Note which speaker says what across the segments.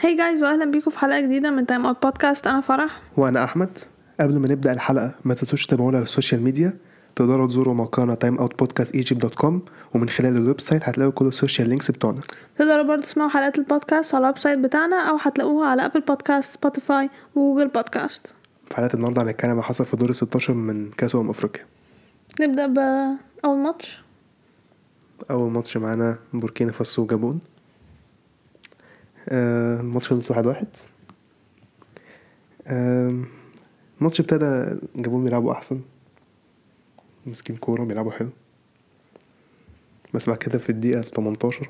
Speaker 1: هاي جايز واهلا بيكم في حلقه جديده من تايم اوت بودكاست انا فرح
Speaker 2: وانا احمد قبل ما نبدا الحلقه ما تنسوش تتابعونا على السوشيال ميديا تقدروا تزوروا موقعنا timeoutpodcastegypt.com ومن خلال الويب سايت هتلاقوا كل السوشيال لينكس بتوعنا
Speaker 1: تقدروا برضه تسمعوا حلقات البودكاست على الويب سايت بتاعنا او هتلاقوها على ابل بودكاست سبوتيفاي وجوجل بودكاست
Speaker 2: في حلقه النهارده هنتكلم عن اللي حصل في دور ال 16 من كاس امم افريقيا
Speaker 1: نبدا باول ماتش
Speaker 2: اول ماتش معانا بوركينا فاسو وجابون آه، الماتش خلص واحد واحد آم، الماتش ابتدى جابون بيلعبوا احسن ماسكين كورة بيلعبوا حلو بس بعد كده في الدقيقة 18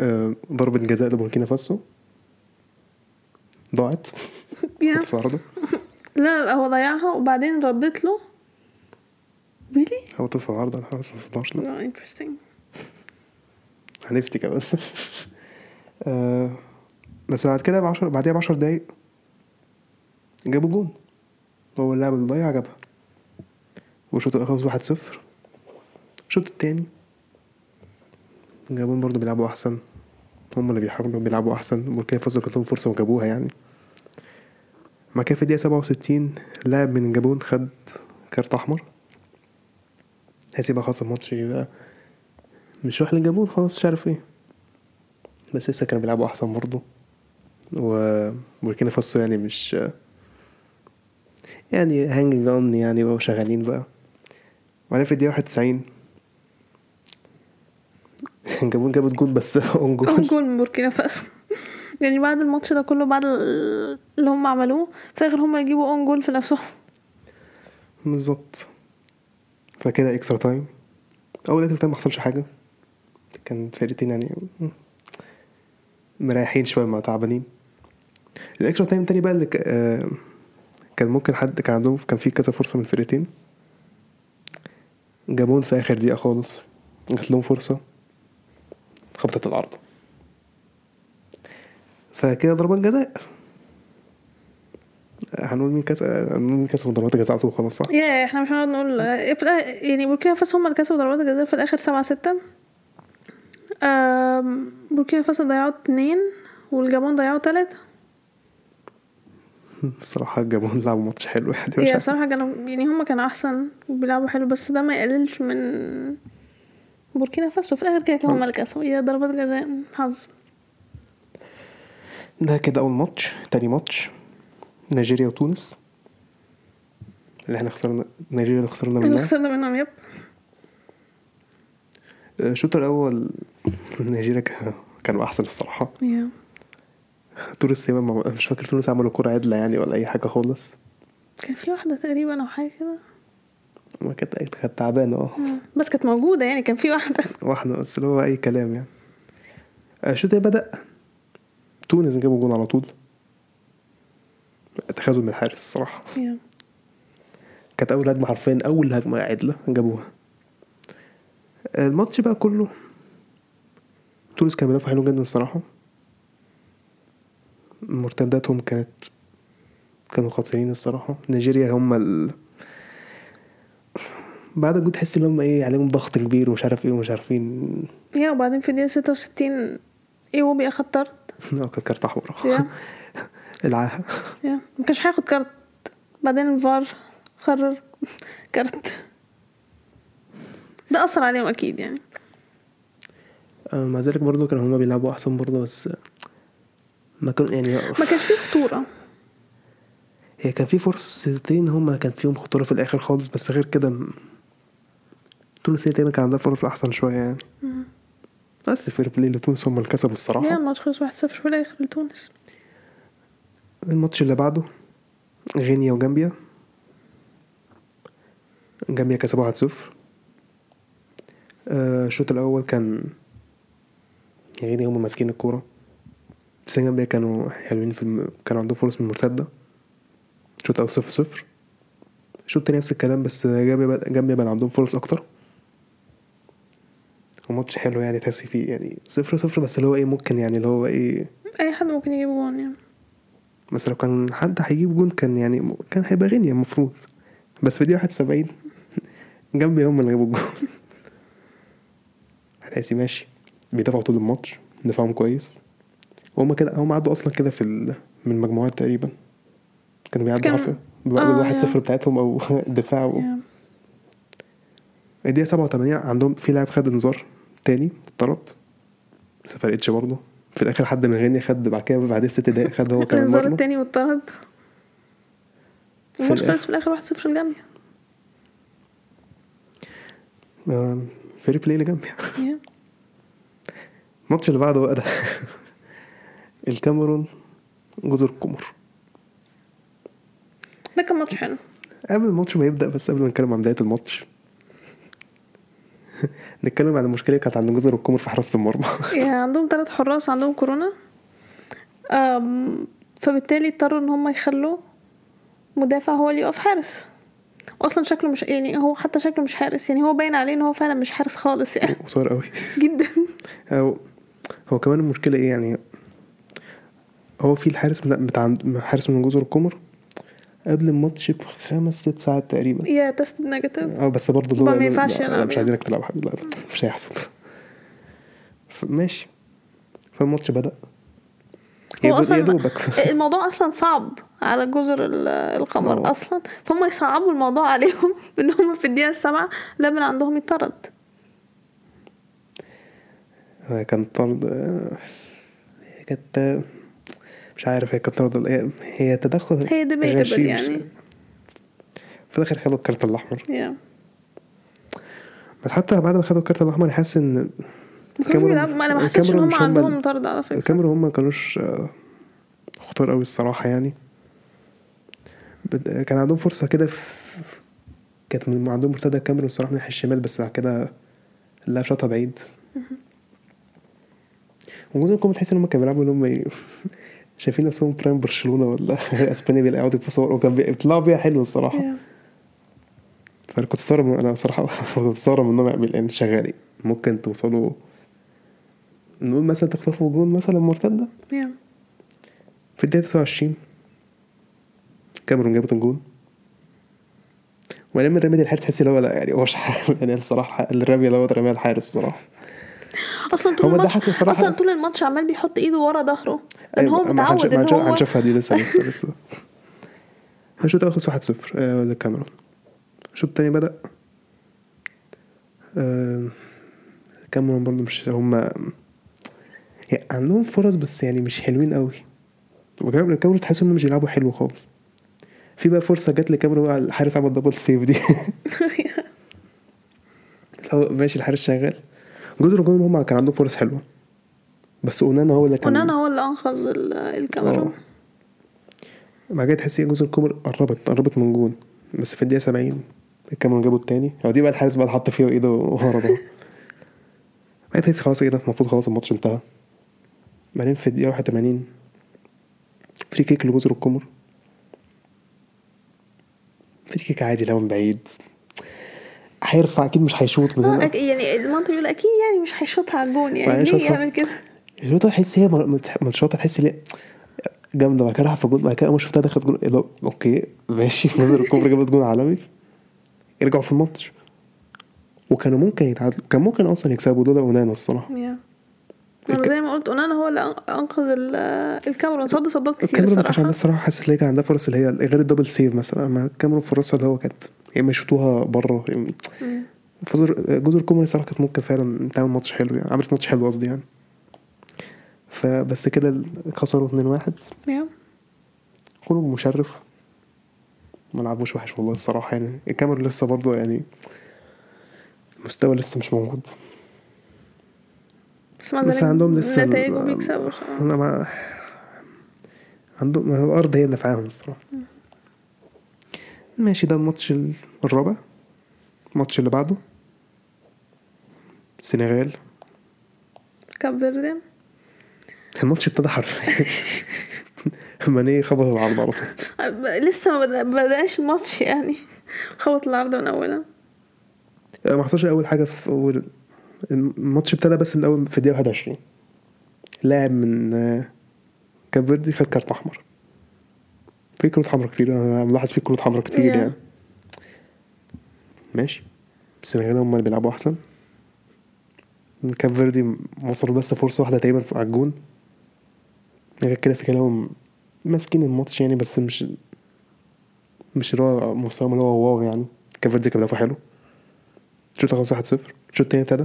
Speaker 2: آه، ضربة جزاء لبوركينا فاسو ضاعت
Speaker 1: يا
Speaker 2: في عرضه
Speaker 1: لا لا هو ضيعها وبعدين ردت له ريلي
Speaker 2: هو طفل عرضه على حارس
Speaker 1: Oh,
Speaker 2: 16 لا
Speaker 1: انترستنج
Speaker 2: هنفتي كمان آه، بس بعد كده ب 10 بعديها ب 10 دقايق جابوا جون هو اللاعب اللي ضيع جابها والشوط الأول خلص 1-0 الشوط التاني جابون برضه بيلعبوا أحسن هم اللي بيحاولوا بيلعبوا أحسن بوركينا فاسو كانت لهم فرصة وجابوها يعني ما كان في الدقيقة 67 لاعب من جابون خد كارت أحمر هسيبها خلاص الماتش يبقى مش راح لجابون خلاص مش عارف ايه بس لسه كانوا بيلعبوا احسن برضه وبوركينا فاسو يعني مش يعني هانجنج اون يعني بقوا شغالين بقى وبعدين في الدقيقة 91 جابون جابت جول بس
Speaker 1: اول
Speaker 2: اون جول
Speaker 1: جول من بوركينا فاسو يعني بعد الماتش ده كله بعد ال- اللي هم عملوه في الاخر هم يجيبوا اون جول في نفسهم
Speaker 2: بالظبط فكده اكسترا تايم اول اكسترا تايم محصلش حاجه كان فرقتين يعني مريحين شويه ما تعبانين الاكسترا تايم التاني بقى اللي ك- آه، كان ممكن حد كان عندهم كان في كذا فرصه من الفرقتين جابون في اخر دقيقه خالص جات لهم فرصه خبطت العرض فكده ضربات جزاء هنقول مين كسب هنقول مين كسب ضربات جزاء على طول خلاص صح؟
Speaker 1: يا احنا مش هنقعد نقول في الآ- يعني بوركينا فاسو هم اللي كسبوا ضربات الجزاء في الاخر سبعة ستة آم، بوركينا فاسو ضيعوا اتنين والجابون ضيعوا تلاتة
Speaker 2: الصراحة جابون لعبوا ماتش حلو يعني مش
Speaker 1: إيه يا
Speaker 2: عارف.
Speaker 1: صراحة كانوا يعني هم كانوا احسن وبيلعبوا حلو بس ده ما يقللش من بوركينا فاسو في الاخر كده كانوا هم اللي كسبوا يا ضربات جزاء حظ
Speaker 2: ده كده أول ماتش تاني ماتش نيجيريا وتونس اللي احنا خسرنا نيجيريا اللي خسرنا
Speaker 1: اللي
Speaker 2: منها
Speaker 1: خسرنا منهم يب
Speaker 2: آه، الشوط الأول نيجيريا كان- كانوا أحسن الصراحة
Speaker 1: يا
Speaker 2: تونس تقريبا ما- مش فاكر تونس عملوا كورة عدلة يعني ولا أي حاجة خالص
Speaker 1: كان في واحدة تقريبا او حاجة كده
Speaker 2: ما كانت كانت تعبانة اه
Speaker 1: بس كانت موجودة يعني كان في واحدة
Speaker 2: واحنا بس اللي هو أي كلام يعني آه، الشوط التاني بدأ تونس جابوا جون على طول تخاذل من الحارس الصراحة
Speaker 1: يا
Speaker 2: كانت اول هجمه حرفيا اول هجمه عدله جابوها الماتش بقى كله تونس كان بيدافع حلو جدا الصراحه مرتداتهم كانت كانوا خطيرين الصراحه نيجيريا هم ال... بعد الجول تحس ان هم ايه عليهم ضغط كبير ومش عارف ايه ومش عارفين
Speaker 1: يا وبعدين في الدقيقة ستة وستين ايوبي اخد طرد
Speaker 2: اه كان كارت احمر
Speaker 1: يا
Speaker 2: العاهه
Speaker 1: يا ما كانش هياخد كارت بعدين الفار قرر كارت ده اثر عليهم اكيد يعني
Speaker 2: آه، مع ذلك برضه كانوا هم بيلعبوا احسن برضه بس ما كانوا يعني
Speaker 1: ما كانش فيه خطوره
Speaker 2: هي كان في فرصتين هما كان فيهم خطورة في الآخر خالص بس غير كده م- تونس هي تقريبا كان عندها فرص أحسن شوية يعني بس فير بلاي لتونس هما اللي كسبوا
Speaker 1: يا
Speaker 2: الصراحة
Speaker 1: الماتش خلص 1-0 في الاخر لتونس
Speaker 2: الماتش اللي بعده غينيا وجامبيا جامبيا كسبوا 1-0 آه، الشوط الأول كان غينيا هما ماسكين الكورة بس جامبيا كانوا حلوين في الم... كانوا عندهم فرص من المرتدة الشوط الأول 0-0 صفر صفر. الشوط التاني نفس الكلام بس جامبيا بقى- جامبيا بقى عندهم فرص أكتر وماتش حلو يعني تحس فيه يعني صفر صفر بس اللي هو ايه ممكن يعني اللي هو ايه
Speaker 1: اي حد ممكن يجيب جون يعني
Speaker 2: بس لو كان حد هيجيب جون كان يعني م- كان هيبقى غني المفروض بس في دقيقة 71 جنبي هم اللي جابوا الجون هتحسي ماشي بيدافعوا طول الماتش دفاعهم كويس وهم كده هم عدوا اصلا كده في ال... من المجموعات تقريبا كانوا بيعدوا
Speaker 1: كان-
Speaker 2: عارفه
Speaker 1: آه،
Speaker 2: بالواحد
Speaker 1: يا.
Speaker 2: صفر بتاعتهم او الدفاع أو...
Speaker 1: يا.
Speaker 2: الدقيقة 87 عندهم في لاعب خد انذار تاني اتطرد بس ما فرقتش برضه في الاخر حد من غينيا خد بعد كده بعديه بست دقايق خد هو كمان
Speaker 1: الانذار
Speaker 2: مرمى
Speaker 1: التاني والطرد الماتش خلص في الاخر 1-0 لجامبيا
Speaker 2: آه، فيري بلاي لجنبي
Speaker 1: يا.
Speaker 2: الماتش اللي بعده بقى ده الكاميرون جزر القمر
Speaker 1: ده كان ماتش حلو
Speaker 2: قبل الماتش ما يبدا بس قبل ما نتكلم عن بدايه الماتش نتكلم عن المشكله اللي كانت عند جزر القمر في حراسه المرمى
Speaker 1: يعني عندهم ثلاث حراس عندهم كورونا أم، فبالتالي اضطروا ان هم يخلوا مدافع هو اللي يقف حارس اصلا شكله مش يعني هو حتى شكله مش حارس يعني هو باين عليه ان هو فعلا مش حارس خالص يعني
Speaker 2: قصير قوي
Speaker 1: جدا
Speaker 2: أو هو كمان المشكلة ايه يعني هو في الحارس بتاع- بتاع حارس من جزر القمر قبل الماتش بخمس ست ساعات تقريبا
Speaker 1: يا تست نيجاتيف
Speaker 2: اه بس برضه
Speaker 1: ما
Speaker 2: دول قالوا
Speaker 1: ينفعش
Speaker 2: لا، لا،
Speaker 1: يلعب
Speaker 2: مش
Speaker 1: يعني.
Speaker 2: عايزينك تلعب يا حبيبي لا لا مش هيحصل ف- ماشي فالماتش بدأ يا
Speaker 1: هو
Speaker 2: دوب-
Speaker 1: اصلا
Speaker 2: يا دوبك
Speaker 1: الموضوع اصلا صعب على جزر ال- القمر
Speaker 2: آه.
Speaker 1: اصلا فهم يصعبوا الموضوع عليهم ان هم في الدقيقه السابعه لابن عندهم يطرد
Speaker 2: آه، كان طرد آه، هي كانت آه، مش عارف هي كانت طرد ولا إيه. هي تدخل
Speaker 1: هي
Speaker 2: غشيم،
Speaker 1: debatable
Speaker 2: مش-
Speaker 1: يعني.
Speaker 2: في الاخر خدوا الكارت الاحمر
Speaker 1: يا
Speaker 2: بس حتى بعد ما خدوا الكارت الاحمر حاسس ان
Speaker 1: ما كانوش
Speaker 2: الكاميرون-
Speaker 1: بيلعبوا انا ما حسيتش ان
Speaker 2: الكاميرون
Speaker 1: هم
Speaker 2: مش هم
Speaker 1: عندهم
Speaker 2: ال-
Speaker 1: طرد على فكره
Speaker 2: الكاميرا هم ما كانوش آه، خطار قوي الصراحه يعني بد- آه، كان عندهم فرصه كده في كانت من عندهم مرتده الكاميرون الصراحه من ناحيه الشمال بس بعد كده اللاعب شاطها بعيد وجودكم تحس ان هم كانوا بيلعبوا ان هم ي- شايفين نفسهم برايم برشلونه ولا اسبانيا بيقعدوا يبصوا وكان بي- بيطلعوا بيها حلو الصراحه
Speaker 1: يا.
Speaker 2: فانا كنت مستغرب من- انا بصراحه كنت مستغرب من النوع من لان شغالي إيه، يعني ممكن توصلوا نقول مثلا تخطفوا جون مثلا مرتده
Speaker 1: يا.
Speaker 2: في الدقيقه 29 كاميرون جابت الجون ولما رميت الحارس تحس اللي هو لا يعني هو مش حارس يعني الصراحه الرميه اللي هو رميها الحارس الصراحه
Speaker 1: اصلا طول
Speaker 2: هو
Speaker 1: الماتش
Speaker 2: ضحكني بصراحة.
Speaker 1: اصلا طول الماتش عمال بيحط ايده ورا ظهره ان هو
Speaker 2: أيوة، ما
Speaker 1: متعود
Speaker 2: هنش- ما
Speaker 1: ان
Speaker 2: هنش-
Speaker 1: هو
Speaker 2: هنشوفها دي لسه لسه لسه الشوط الاول خلص 1-0 آه، للكاميرون الشوط التاني بدأ آه، الكاميرون برضه مش هما يعني عندهم فرص بس يعني مش حلوين قوي وكمان الكاميرون تحس انهم مش بيلعبوا حلو خالص في بقى فرصة جت لكاميرون بقى الحارس عمل دبل سيف دي هو ماشي الحارس شغال جزر الجون هما كان عندهم فرص حلوة بس اونانا هو اللي كان
Speaker 1: ونانا هو اللي انقذ ال- الكاميرون
Speaker 2: آه، بعد كده تحس ان جزء الكوبر قربت قربت من جون بس في الدقيقه 70 الكاميرون جابوا التاني هو دي بقى الحارس بقى اللي حط فيه ايده ورا ده بعد تحس خلاص ايه ده المفروض خلاص الماتش انتهى بعدين في الدقيقه 81 فري كيك لجزر الكومر فري كيك عادي لو من بعيد هيرفع اكيد مش هيشوط من
Speaker 1: آه،
Speaker 2: هنا
Speaker 1: أك- يعني المنطق يقول اكيد يعني مش هيشوطها على الجون يعني
Speaker 2: وبعدين
Speaker 1: ليه
Speaker 2: شاطها.
Speaker 1: يعمل كده
Speaker 2: الشوطه تحس هي مر- متح- متشوطه تحس ليه جامده بعد كده راح في جون بعد كده اول ما شفتها دخلت جون إيه ده؟ اوكي ماشي نظر الكوبري جابت جون عالمي رجعوا في الماتش وكانوا ممكن يتعادلوا كان ممكن اصلا يكسبوا دول اونانا الصراحه
Speaker 1: يا. انا زي ما قلت ونانا هو اللي أن- انقذ ال- الكاميرون صد صدات كتير
Speaker 2: الكاميرون ما كانش
Speaker 1: الصراحه
Speaker 2: عندها الصراحه حاسس ان هي كان عندها فرص اللي هي غير الدبل سيف مثلا اما الكاميرون في الرصه اللي هو كانت يا اما يشوطوها بره يا إما- فزر جزر القمر الصراحه كانت ممكن فعلا تعمل ماتش حلو يعني عملت ماتش حلو قصدي يعني فبس كده خسروا 2-1
Speaker 1: يا.
Speaker 2: خروج مشرف ما لعبوش وحش والله الصراحة يعني الكاميرون لسه برضه يعني مستوى لسه مش موجود
Speaker 1: بس ما
Speaker 2: بس
Speaker 1: زال
Speaker 2: عندهم لسه ال-
Speaker 1: نتائج وبيكسبوا صراحة.
Speaker 2: أنا ما عندهم ما هو الأرض هي اللي نفعاهم الصراحة ماشي ده الماتش ال- الرابع الماتش اللي بعده السنغال
Speaker 1: كاب فيردي
Speaker 2: الماتش ابتدى حرفيا ماني خبط العرض على طول
Speaker 1: آه، لسه ما بدأ- بداش الماتش يعني خبط العارضه من اولها
Speaker 2: ما حصلش اول حاجه في اول الماتش ابتدى بس من اول في الدقيقه 21 لاعب من آه، كاب فيردي خد كارت احمر في كروت حمرا كتير انا ملاحظ في كروت حمرا كتير
Speaker 1: Yeah.
Speaker 2: يعني ماشي السنغال هم اللي بيلعبوا احسن كاب فيردي وصلوا بس فرصه واحده تقريبا على الجون غير كده سكيلهم ماسكين الماتش يعني بس مش مش اللي هو مستواهم اللي هو واو يعني كفردي كان بيدافع حلو الشوط الأول 1-0 الشوط التاني ابتدى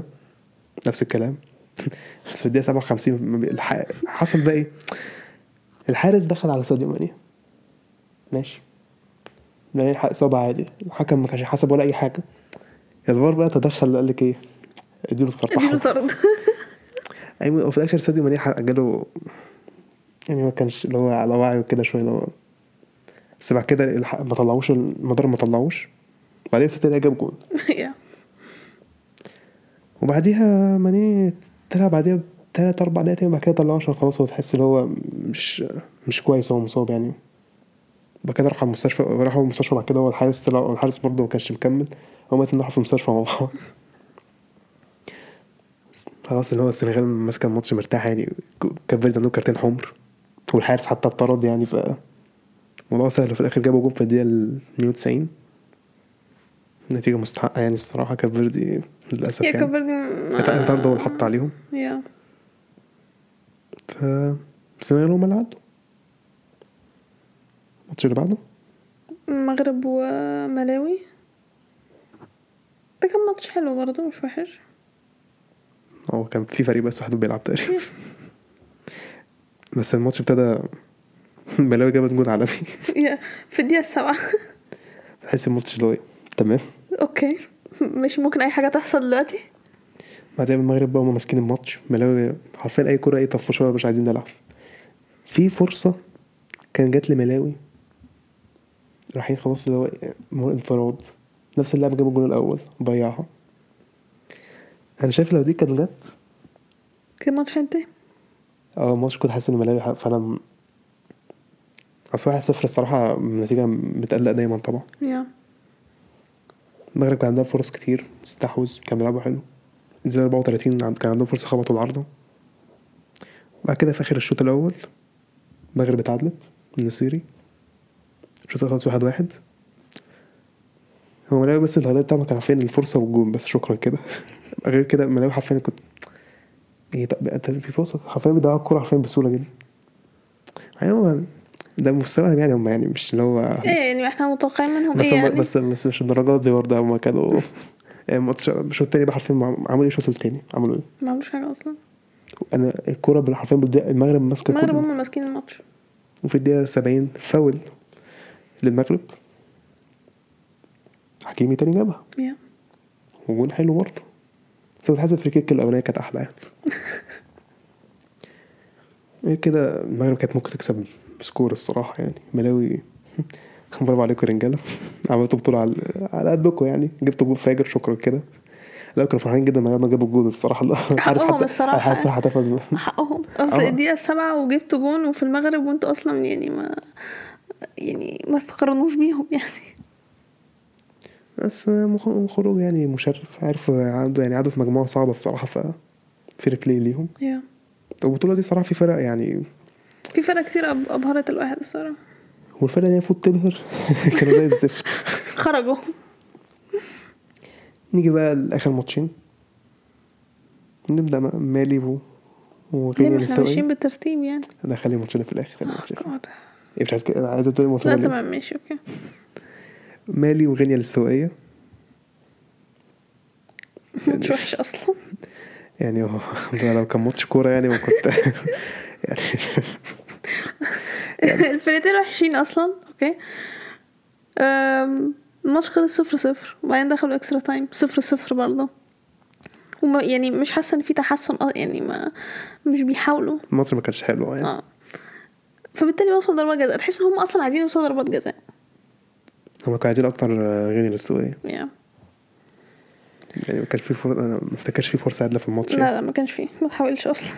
Speaker 2: نفس الكلام بس في الدقيقة 57 الح- حصل بقى ايه الحارس دخل على ساديو ماني ماشي ده يلحق إصابة عادي الحكم ما كانش حسب ولا أي حاجة الفار بقى تدخل قال لك ايه اديله الكارت
Speaker 1: اديله
Speaker 2: أحمر
Speaker 1: طرد
Speaker 2: ايوه وفي الاخر ساديو ماني حقق- جاله يعني ما كانش اللي هو على وعي وكده شويه اللي هو بس بعد كده الحق- ما طلعوش المدار ما طلعوش بعدين ساديو جاب جول
Speaker 1: يا.
Speaker 2: وبعديها ماني طلع بعديها تلات أربع دقايق تاني بعد كده طلعوه عشان خلاص هو تحس اللي هو مش مش كويس هو مصاب يعني بعد كده راحوا المستشفى راحوا المستشفى بعد كده هو الحارس طلع الحارس برضه ما كانش مكمل هما الاتنين راحوا في المستشفى مع بعض خلاص اللي هو السنغال ماسكة الماتش مرتاحة يعني كان فيرد عندهم كارتين حمر والحارس حتى اتطرد يعني ف الموضوع سهل في الآخر جابوا جون في الدقيقة ال 92 نتيجة مستحقة يعني الصراحة كافيردي للأسف
Speaker 1: يا
Speaker 2: يعني
Speaker 1: كبرني
Speaker 2: اتقل طرد هو اللي حط عليهم
Speaker 1: يا
Speaker 2: ف السنغال هم اللي عدوا الماتش اللي بعده
Speaker 1: المغرب وملاوي ده كان ماتش حلو برضه مش وحش
Speaker 2: هو كان في فريق بس واحد بيلعب تقريبا بس الماتش ابتدى ملاوي جابت جون عالمي
Speaker 1: يا في الدقيقة السبعة
Speaker 2: تحس الماتش اللي هو إيه، تمام
Speaker 1: اوكي مش ممكن اي حاجة تحصل دلوقتي
Speaker 2: بعدين المغرب بقى هم ماسكين الماتش ملاوي حرفيا اي كرة ايه طفوا شوية مش عايزين نلعب في فرصة كان جات لملاوي رايحين خلاص اللي هو إيه، انفراد نفس اللاعب جاب الجول الاول ضيعها انا شايف لو دي كانت جت
Speaker 1: كان ماتش هينتهي
Speaker 2: اه الماتش كنت حاسس ان ملاوي حق- فانا م- اصل 1 0 الصراحه النتيجه متقلق دايما طبعا
Speaker 1: يا
Speaker 2: المغرب كان عندها فرص كتير استحوذ كان بيلعبوا حلو الدقيقه 34 عند- كان عندهم فرصه خبطوا العارضه بعد كده في اخر الشوط الاول المغرب اتعادلت النصيري الشوط خلص 1 1 هو ملاوي بس الهدف بتاعهم كان عارفين الفرصه والجون بس شكرا كده غير كده ملاوي حرفيا كنت ايه طب طب في فرصه حرفيا بيضيعوا الكوره حرفيا بسهوله جدا ايوه ده مستواهم يعني هم يعني مش اللي هو
Speaker 1: ايه يعني احنا متوقعين منهم
Speaker 2: بس
Speaker 1: ايه
Speaker 2: هم
Speaker 1: يعني
Speaker 2: بس بس مش الدرجات دي برضه هم كانوا يعني الماتش الشوط التاني بقى حرفيا مع- عملوا ايه الشوط التاني عملوا ايه؟
Speaker 1: ما عملوش حاجة اصلا
Speaker 2: انا الكوره بال- حرفيا بالدقيقة- المغرب ماسكه
Speaker 1: المغرب
Speaker 2: كله
Speaker 1: هم اللي ماسكين الماتش
Speaker 2: وفي الدقيقه 70 فاول للمغرب حكيمي تاني جابها
Speaker 1: يا
Speaker 2: وجول حلو برضه بس أنا حاسس الفري كيك الاولانيه كانت احلى يعني غير إيه كده المغرب كانت ممكن تكسب بسكور الصراحه يعني ملاوي برافو عليكم يا رجاله عملتوا بطوله على على قدكم يعني جبتوا جول فاجر شكرا كده لا كانوا فرحانين جدا لما جابوا الجول الصراحه الحارس
Speaker 1: حقهم
Speaker 2: حتى
Speaker 1: الصراحة.
Speaker 2: الحارس الصراحه احتفل
Speaker 1: حقهم اصل
Speaker 2: آه.
Speaker 1: الدقيقة السبعة وجبت جون وفي المغرب وانتوا اصلا يعني ما يعني ما تقارنوش بيهم يعني
Speaker 2: بس مخ- خروج يعني مشرف عارف عنده يعني عدوا في مجموعه صعبه الصراحه ف في ريبلاي ليهم
Speaker 1: يا
Speaker 2: البطوله دي صراحه في فرق يعني
Speaker 1: في فرق كتير أب- ابهرت الواحد الصراحة
Speaker 2: والفرق اللي هي المفروض تبهر كانوا زي الزفت
Speaker 1: خرجوا
Speaker 2: نيجي بقى لاخر ماتشين نبدا مع مالي و وغينيا
Speaker 1: ليه احنا ماشيين
Speaker 2: الاستوائيه
Speaker 1: بالترتيب يعني
Speaker 2: ده خلي ماتشنا في الاخر خلي ماتشنا.
Speaker 1: Oh God.
Speaker 2: ايه مش عايز كده عايز تقول
Speaker 1: لا
Speaker 2: ماتشنا ليه؟
Speaker 1: تمام ماشي اوكي
Speaker 2: مالي وغينيا الاستوائيه
Speaker 1: مش وحش اصلا
Speaker 2: يعني هو ده لو كان ماتش كوره يعني ما كنت يعني
Speaker 1: الفرقتين وحشين اصلا اوكي أم، الماتش خلص صفر صفر وبعدين دخلوا اكسترا تايم صفر صفر برضه وما يعني مش حاسه ان في تحسن أه، يعني ما مش بيحاولوا
Speaker 2: الماتش ما كانش حلو يعني
Speaker 1: اه فبالتالي وصلوا ضربات جزاء تحس ان هم اصلا عايزين يوصلوا ضربات جزاء
Speaker 2: هما كانوا عايزين اكتر آه، غينيا الاستوائيه
Speaker 1: يعني
Speaker 2: يعني ما كانش في فرصه انا ما افتكرش في فرصه عادله في الماتش يعني.
Speaker 1: لا لا ما كانش فيه ما تحاولش اصلا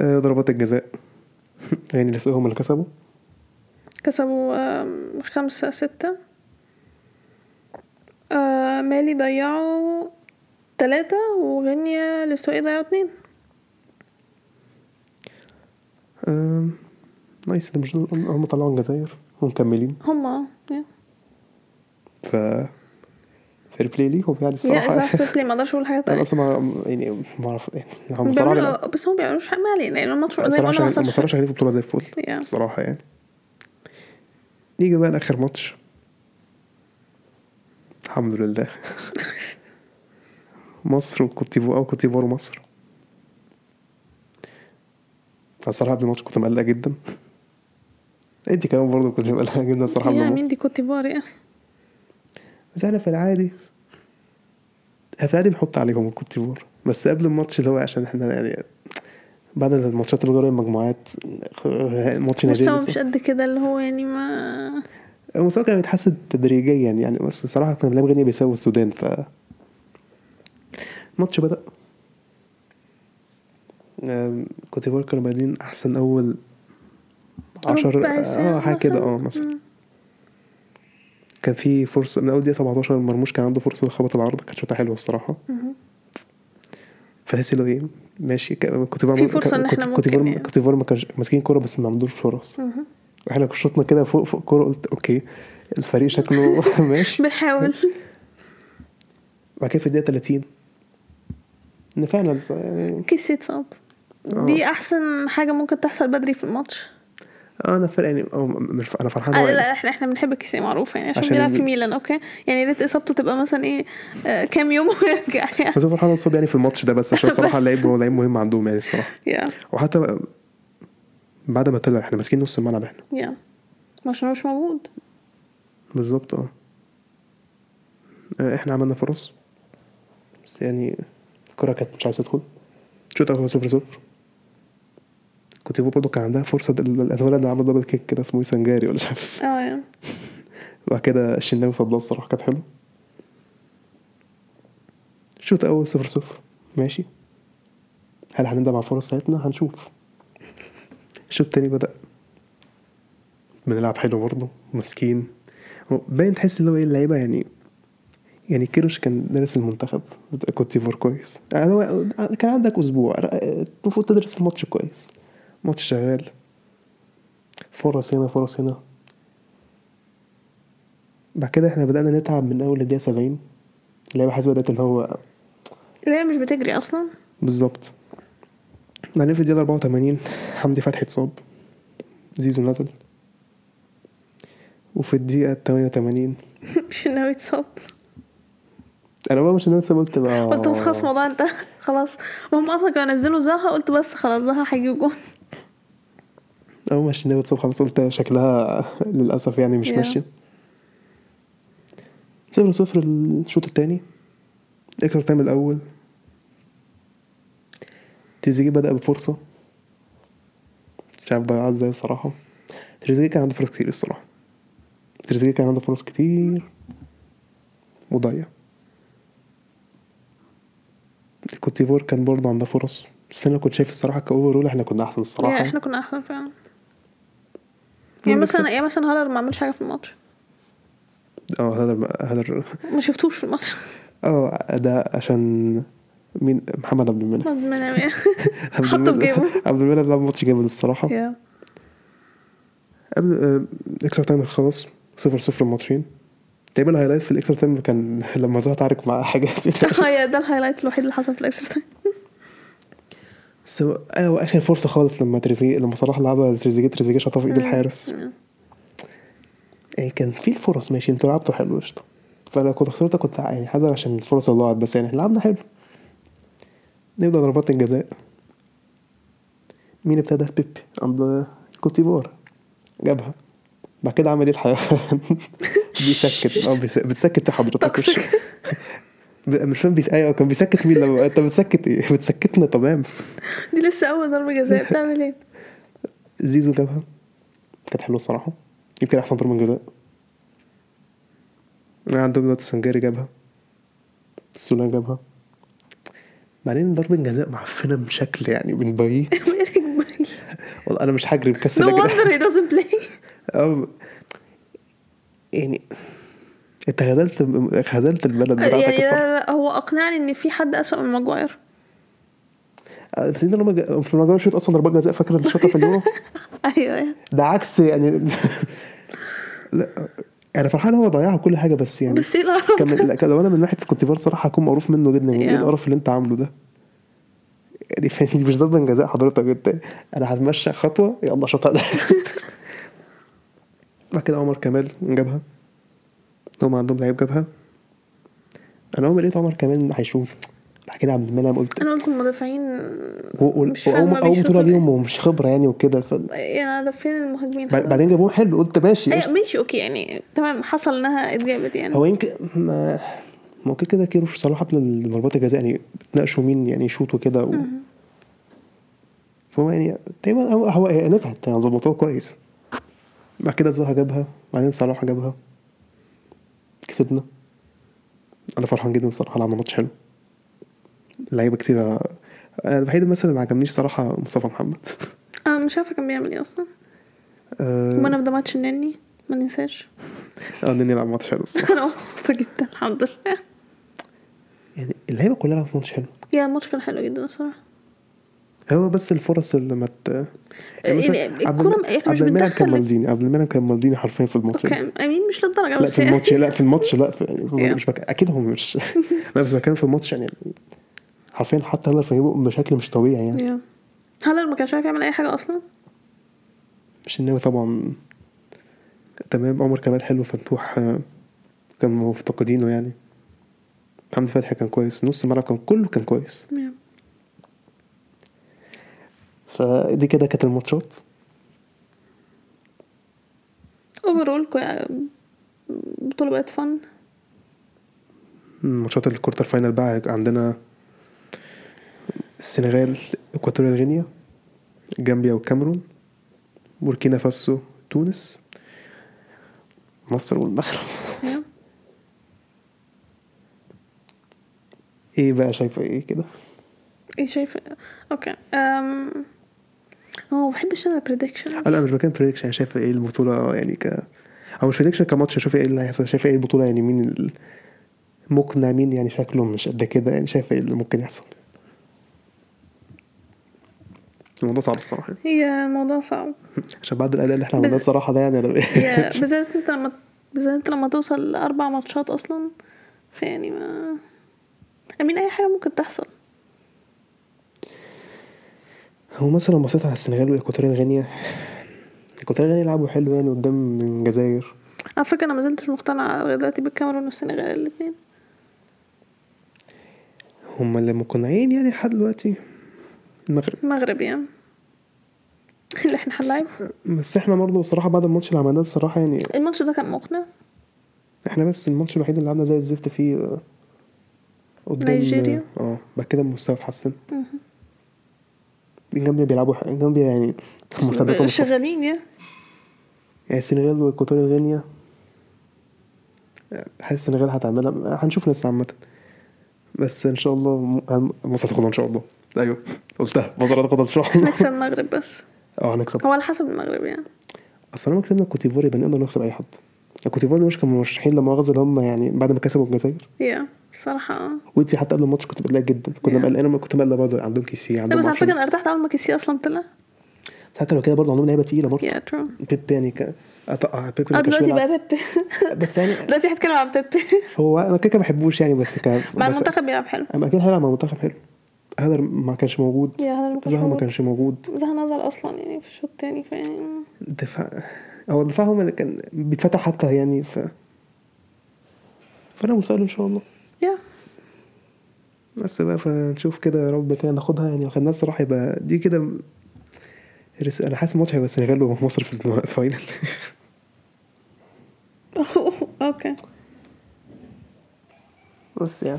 Speaker 2: آه، ضربات الجزاء غينيا الاستوائيه هم اللي كسبوا
Speaker 1: كسبوا آم، خمسة ستة آه، مالي ضيعوا تلاتة وغينيا الاستوائية ضيعوا اتنين
Speaker 2: آم، نايس ده مش هم
Speaker 1: يعني.
Speaker 2: طلعوا الجزائر ومكملين
Speaker 1: هما اه يا.
Speaker 2: ف فير بلاي ليهم
Speaker 1: يا
Speaker 2: يعني الصراحه
Speaker 1: صح فير بلاي ما اقدرش اقول حاجه
Speaker 2: انا
Speaker 1: تانية
Speaker 2: اصلا ما- يعني ما اعرف يعني هم بصراحه
Speaker 1: بيعملوا-
Speaker 2: لا-
Speaker 1: بس هم بيعملوش يعني حاجه ما علينا لان الماتش زي ما
Speaker 2: صراحه
Speaker 1: قلنا ما
Speaker 2: شغال- هم
Speaker 1: حصلش
Speaker 2: صراحه
Speaker 1: حاجة.
Speaker 2: شغالين في البطوله زي الفل
Speaker 1: Yeah.
Speaker 2: بصراحه يعني نيجي بقى لاخر ماتش الحمد لله مصر وكوتيفو او كوتيفوار ومصر أنا الصراحه قبل الماتش كنت مقلق جدا انت كمان برضه كنت مقلقه جدا الصراحه قبل
Speaker 1: يا
Speaker 2: الماتش.
Speaker 1: مين دي كوت ديفوار يعني
Speaker 2: بس احنا في العادي في العادي بنحط عليهم الكوت ديفوار بس قبل الماتش اللي هو عشان احنا يعني بعد الماتشات اللي جرى المجموعات ماتش نادي
Speaker 1: مستوى
Speaker 2: لسه.
Speaker 1: مش قد كده اللي هو يعني ما
Speaker 2: المستوى كان بيتحسن تدريجيا يعني بس الصراحه كنا بنلعب غينيا بيساوي السودان ف الماتش بدا أم، كوت ديفوار كانوا بادئين احسن اول عشر
Speaker 1: ربع ساعة
Speaker 2: اه حاجه كده اه
Speaker 1: مم.
Speaker 2: مثلا كان في فرصه من اول دقيقه 17 مرموش كان عنده فرصه لخبط العرض كانت شوطه حلوه الصراحه
Speaker 1: مهم.
Speaker 2: فتحس لو ايه ماشي ك- كنت
Speaker 1: في فرصة إن إحنا
Speaker 2: كنت
Speaker 1: ممكن يعني.
Speaker 2: كنت ما كانش ماسكين كوره بس ما عندوش فرص
Speaker 1: مهم.
Speaker 2: احنا شطنا كده فوق فوق كوره قلت اوكي الفريق شكله ماشي
Speaker 1: بنحاول
Speaker 2: بعد كده في الدقيقه 30 ان فعلا ص- يعني
Speaker 1: كيسيت صعب دي احسن حاجه ممكن تحصل بدري في الماتش
Speaker 2: آه، انا فرق يعني أو م- مش انا فرحان
Speaker 1: آه،
Speaker 2: هو يعني.
Speaker 1: لا احنا احنا بنحب كيسيه معروف يعني عشان,
Speaker 2: عشان
Speaker 1: بيلعب في
Speaker 2: ال-
Speaker 1: ميلان اوكي يعني يا ريت اصابته تبقى مثلا ايه آه، كام يوم ويرجع يعني
Speaker 2: بس هو فرحان اصاب يعني في الماتش ده بس عشان الصراحه
Speaker 1: بس.
Speaker 2: اللعيب هو لعيب مهم عندهم يعني الصراحه
Speaker 1: يا
Speaker 2: وحتى بقى- بعد ما طلع احنا ماسكين نص الملعب احنا
Speaker 1: يا عشان هو مش موجود
Speaker 2: بالظبط اه آه، احنا عملنا فرص بس يعني الكرة كانت مش عايزة تدخل شوط أول صفر صفر كوتيفو برضه كان عندها فرصة ده- ال- الولد اللي عمل دبل كيك كده اسمه إيه سنجاري ولا مش عارف
Speaker 1: اه يا
Speaker 2: وبعد كده الشناوي صدها الصراحة كانت حلوة شوط أول صفر صفر ماشي هل هنندم على الفرص بتاعتنا هنشوف الشوط التاني بدأ بنلعب حلو برضه ماسكين هو باين تحس اللي هو ايه اللعيبه يعني يعني كيروش كان دارس المنتخب بتاع كوت ديفوار كويس يعني هو كان عندك اسبوع المفروض تدرس الماتش كويس ماتش شغال فرص هنا فرص هنا بعد كده احنا بدأنا نتعب من أول الدقيقة 70 اللعيبة حاسة بدأت اللي هو
Speaker 1: لا هي مش بتجري اصلا
Speaker 2: بالظبط بعدين في الدقيقة 84 حمدي فتحي اتصاب زيزو نزل وفي الدقيقة 88
Speaker 1: مش ناوي تصاب
Speaker 2: أنا بقى مش ناسي قلت بقى
Speaker 1: قلت بس
Speaker 2: آه.
Speaker 1: خلاص الموضوع انت خلاص وهم اصلا كانوا نزلوا زها قلت بس خلاص زها هيجيب جون
Speaker 2: أول ما الشناوي اتصاب خلاص قلت شكلها للأسف يعني مش
Speaker 1: Yeah.
Speaker 2: ماشية صفر صفر الشوط التاني اكسترا تايم الأول تريزيجيه بدأ بفرصة مش عارف ضيعها ازاي الصراحة تريزيجيه كان عنده فرص كتير الصراحة تريزيجيه كان عنده فرص كتير وضيع كوتيفور كان برضه عندها فرص بس انا كنت شايف الصراحة كأوفرول احنا كنا احسن الصراحة
Speaker 1: يا احنا كنا احسن فعلا يعني مثلا يا مثلا هالر ما عملش حاجه في الماتش
Speaker 2: اه هذا هذا
Speaker 1: ما شفتوش في الماتش
Speaker 2: اه ده عشان مين محمد عبد المنعم
Speaker 1: ما إيه. أنا-
Speaker 2: عبد
Speaker 1: حطه في
Speaker 2: المنعم-
Speaker 1: جيبه.
Speaker 2: عبد المنعم لعب ماتش جامد الصراحه
Speaker 1: يا
Speaker 2: قبل اكسترا تايم خلاص صفر صفر الماتشين تقريبا الهايلايت في الاكسترا تايم كان لما زهر تعارك مع حاجه اسمها
Speaker 1: آه، يا ده الهايلايت الوحيد اللي حصل في الاكسترا تايم
Speaker 2: بس هو- ايوه اخر فرصه خالص لما تريزيجيه لما صلاح لعبها تريزيجيه تريزيجيه شاطها في
Speaker 1: Mm.
Speaker 2: ايد الحارس
Speaker 1: مم.
Speaker 2: يعني كان في الفرص ماشي انتوا لعبتوا حلو قشطه فلو كنت خسرتها كنت يعني حذر عشان الفرص اللي ضاعت بس يعني احنا لعبنا حلو نبدا ضربات الجزاء مين ابتدى بيبي عند كوتيفوار جابها بعد كده عمل ايه الحيوان بيسكت اه بيس- بتسكت حضرتك
Speaker 1: توكسيك.
Speaker 2: مش- ب- مش فاهم بيس ايوه كان بيسكت مين لما انت بتسكت ايه بتسكتنا تمام
Speaker 1: دي لسه اول ضربه جزاء بتعمل ايه
Speaker 2: زيزو جابها كانت حلوه الصراحه يمكن احسن ضربه جزاء عندهم دلوقتي السنجاري جابها السولان جابها بعدين ضربة جزاء معفنة بشكل يعني من بايه
Speaker 1: إيريك باريس.
Speaker 2: والله أنا مش هجري
Speaker 1: no
Speaker 2: مكسل أجري
Speaker 1: wonder he doesn't play
Speaker 2: أو يعني أنت خذلت خذلت البلد بتاعتك
Speaker 1: يعني
Speaker 2: الصراحة
Speaker 1: لا لا لا هو اقنعني ان في حد اسوء من ماجواير
Speaker 2: آه، بس إن لما جا- في مجال الشوط أصلا ضربات جزاء
Speaker 1: أيوة،
Speaker 2: فاكر الشوطة في اليورو
Speaker 1: ايوه
Speaker 2: ده عكس يعني لا انا فرحان ان هو ضيعها كل حاجه بس يعني
Speaker 1: بس ايه القرف
Speaker 2: كان لا، كان- لو انا من ناحيه الكونتيفار صراحه هكون مقروف منه جدا يعني ايه
Speaker 1: Yeah.
Speaker 2: القرف اللي انت عامله ده يعني فاهم مش ضد جزاء حضرتك انت انا هتمشى خطوه يلا شاطر بعد كده عمر كمال جابها هم عندهم لعيب جابها انا اول ما لقيت عمر كمال هيشوف بعد كده عبد المنعم قلت
Speaker 1: انا قلت المدافعين
Speaker 2: و- و-
Speaker 1: مش
Speaker 2: واول
Speaker 1: فاهمة
Speaker 2: أول
Speaker 1: بيشوطوا
Speaker 2: بطوله
Speaker 1: ليه.
Speaker 2: ليهم ومش خبره يعني وكده ف...
Speaker 1: يعني ده فين المهاجمين
Speaker 2: بعد- بعدين جابوه حلو قلت ماشي
Speaker 1: ايه ماشي اوكي يعني تمام حصل انها اتجابت يعني
Speaker 2: هو يمكن ما ممكن كده كيروش صلاح قبل ضربات الجزاء يعني بتناقشوا مين يعني يشوط وكده و... فهو يعني تقريبا هو هو هي نفعت يعني ظبطوها كويس بعد كده زها جابها بعدين صلاح جابها كسبنا انا فرحان جدا صراحه عمل ماتش حلو لعيبه كتير انا الوحيد مثلا اللي ما عجبنيش صراحه مصطفى محمد
Speaker 1: انا مش عارفه كان بيعمل ايه اصلا
Speaker 2: اه
Speaker 1: وانا في ده ماتش النني ما ننساش
Speaker 2: آه، ان يلعب ماتش حلو الصراحه
Speaker 1: انا مبسوطه جدا الحمد لله
Speaker 2: يعني اللعيبه كلها لعبت ماتش حلو
Speaker 1: يا الماتش كان حلو جدا الصراحه
Speaker 2: هو بس الفرص اللي ما ت...
Speaker 1: يعني
Speaker 2: مثلا عبد الم-
Speaker 1: الكوره احنا مش
Speaker 2: عبد المنعم كان
Speaker 1: بندخل
Speaker 2: مالديني عبد المنعم كان مالديني حرفيا في الماتش ده.
Speaker 1: كان امين مش للدرجه
Speaker 2: لا
Speaker 1: بس يعني.
Speaker 2: في الماتش لا في الماتش لا في يعني في
Speaker 1: Yeah.
Speaker 2: مش بك... اكيد هم مش لا بس بتكلم في الماتش يعني حرفيا حتى هلا فهيبقوا بشكل مش طبيعي يعني
Speaker 1: يا. هلال ما كانش عارف يعمل اي حاجه اصلا
Speaker 2: الشناوي طبعا تمام عمر كمال حلو فتوح آه، كان مفتقدينه يعني حمدي فتحي كان كويس نص الملعب كان كله كان كويس
Speaker 1: يا.
Speaker 2: فدي كده كانت الماتشات
Speaker 1: اوفرول بطوله بقت فن
Speaker 2: ماتشات الكورتر فاينل بقى عندنا السنغال اكواتوريال غينيا جامبيا والكاميرون بوركينا فاسو تونس مصر والمغرب
Speaker 1: يا.
Speaker 2: ايه بقى شايفه ايه كده
Speaker 1: ايه شايف اوكي أم... هو Um, ما بحبش انا البريدكشنز
Speaker 2: انا مش بكلم بريدكشن انا شايفه ايه البطوله يعني ك او مش بريدكشن كماتش شايفه ايه اللي هيحصل شايفه ايه البطوله يعني مين مقنع مين يعني شكله مش قد كده يعني شايفه ايه اللي ممكن يحصل الموضوع صعب يعني. الصراحه
Speaker 1: هي الموضوع صعب
Speaker 2: عشان بعد الاداء اللي احنا عملناه الصراحه ده يعني انا
Speaker 1: هي بالذات انت لما بالذات انت لما توصل لاربع ماتشات اصلا فيعني ما امين اي حاجه ممكن تحصل
Speaker 2: هو مثلا لو بصيت على السنغال والاكواتوريال غينيا الاكواتوريال غينيا لعبوا حلو يعني قدام الجزائر
Speaker 1: على فكره انا ما زلتش مقتنعه لغايه دلوقتي بالكاميرون والسنغال الاثنين
Speaker 2: هما اللي مقنعين يعني لحد دلوقتي المغرب
Speaker 1: المغرب يعني اللي احنا هنلعبه
Speaker 2: بس احنا برضه الصراحه بعد الماتش اللي عملناه الصراحه يعني
Speaker 1: الماتش ده كان مقنع
Speaker 2: احنا بس الماتش الوحيد اللي لعبنا زي الزفت فيه آه، قدام
Speaker 1: نيجيريا.
Speaker 2: اه بعد كده المستوى اتحسن جامبيا بيلعبوا ح- جامبيا يعني مرتداتهم مش يعني
Speaker 1: شغالين يا
Speaker 2: السنغال واكواتوريال غينيا حاسس السنغال هتعملها هنشوف لسه عامة بس ان شاء الله م- مصر هتاخدها ان شاء الله ايوه
Speaker 1: أيوه.
Speaker 2: قلتها مصر هتاخدها ان شاء الله
Speaker 1: نكسب المغرب بس
Speaker 2: اه هنكسب
Speaker 1: هو على حسب المغرب يعني
Speaker 2: اصل لما كسبنا الكوتيفوار يبقى نقدر نكسب اي حد الكوتيفوار مش كانوا مرشحين لما مؤاخذه اللي هم يعني بعد ما كسبوا الجزائر
Speaker 1: يا بصراحه اه
Speaker 2: ودي حتى قبل الماتش كنت مقلق جدا كنا
Speaker 1: Yeah.
Speaker 2: مقلقين انا كنت مقلق برضه عندهم كيسي
Speaker 1: لا
Speaker 2: عندهم
Speaker 1: بس على فكره
Speaker 2: عشرة.
Speaker 1: انا ارتحت اول ما كيسي اصلا طلع
Speaker 2: ساعتها لو كده برضه عندهم لعيبه تقيله برضه
Speaker 1: يا ترو
Speaker 2: بيب يعني ك... أطقع بيب
Speaker 1: اه
Speaker 2: اللي كانش
Speaker 1: دلوقتي
Speaker 2: بيلعب.
Speaker 1: بقى بيبي
Speaker 2: بس يعني
Speaker 1: دلوقتي هتكلم عن بيبي
Speaker 2: هو انا كده كده ما بحبوش يعني بس ك...
Speaker 1: مع
Speaker 2: بس
Speaker 1: المنتخب بيلعب حلو
Speaker 2: اما اكيد هيلعب مع المنتخب حلو هدر ما كانش موجود
Speaker 1: يا هلا
Speaker 2: زها ما كانش موجود
Speaker 1: زها نزل اصلا يعني في الشوط التاني فيعني
Speaker 2: دفاع هو الدفاع هو اللي كان بيتفتح حتى يعني ف فانا متفائل ان شاء الله
Speaker 1: يا
Speaker 2: بس بقى فنشوف كده يا رب كده ناخدها يعني لو خدناها الصراحه يبقى دي كده رس... انا حاسس الماتش هيبقى السنغال ومصر في الفاينل
Speaker 1: اوكي
Speaker 2: بس يعني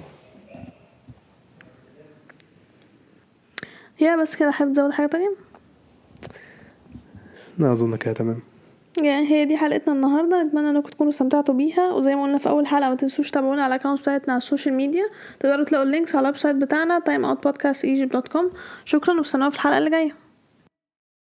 Speaker 1: يا بس كده حابب تزود حاجه تانية
Speaker 2: انا اظن كده تمام
Speaker 1: يعني هي دي حلقتنا النهارده نتمنى انكم تكونوا استمتعتوا بيها وزي ما قلنا في اول حلقه ما تنسوش تابعونا على الاكونت بتاعتنا على السوشيال ميديا تقدروا تلاقوا اللينكس على الويب سايت بتاعنا timeoutpodcastegypt.com شكرا واستنونا في الحلقه اللي جايه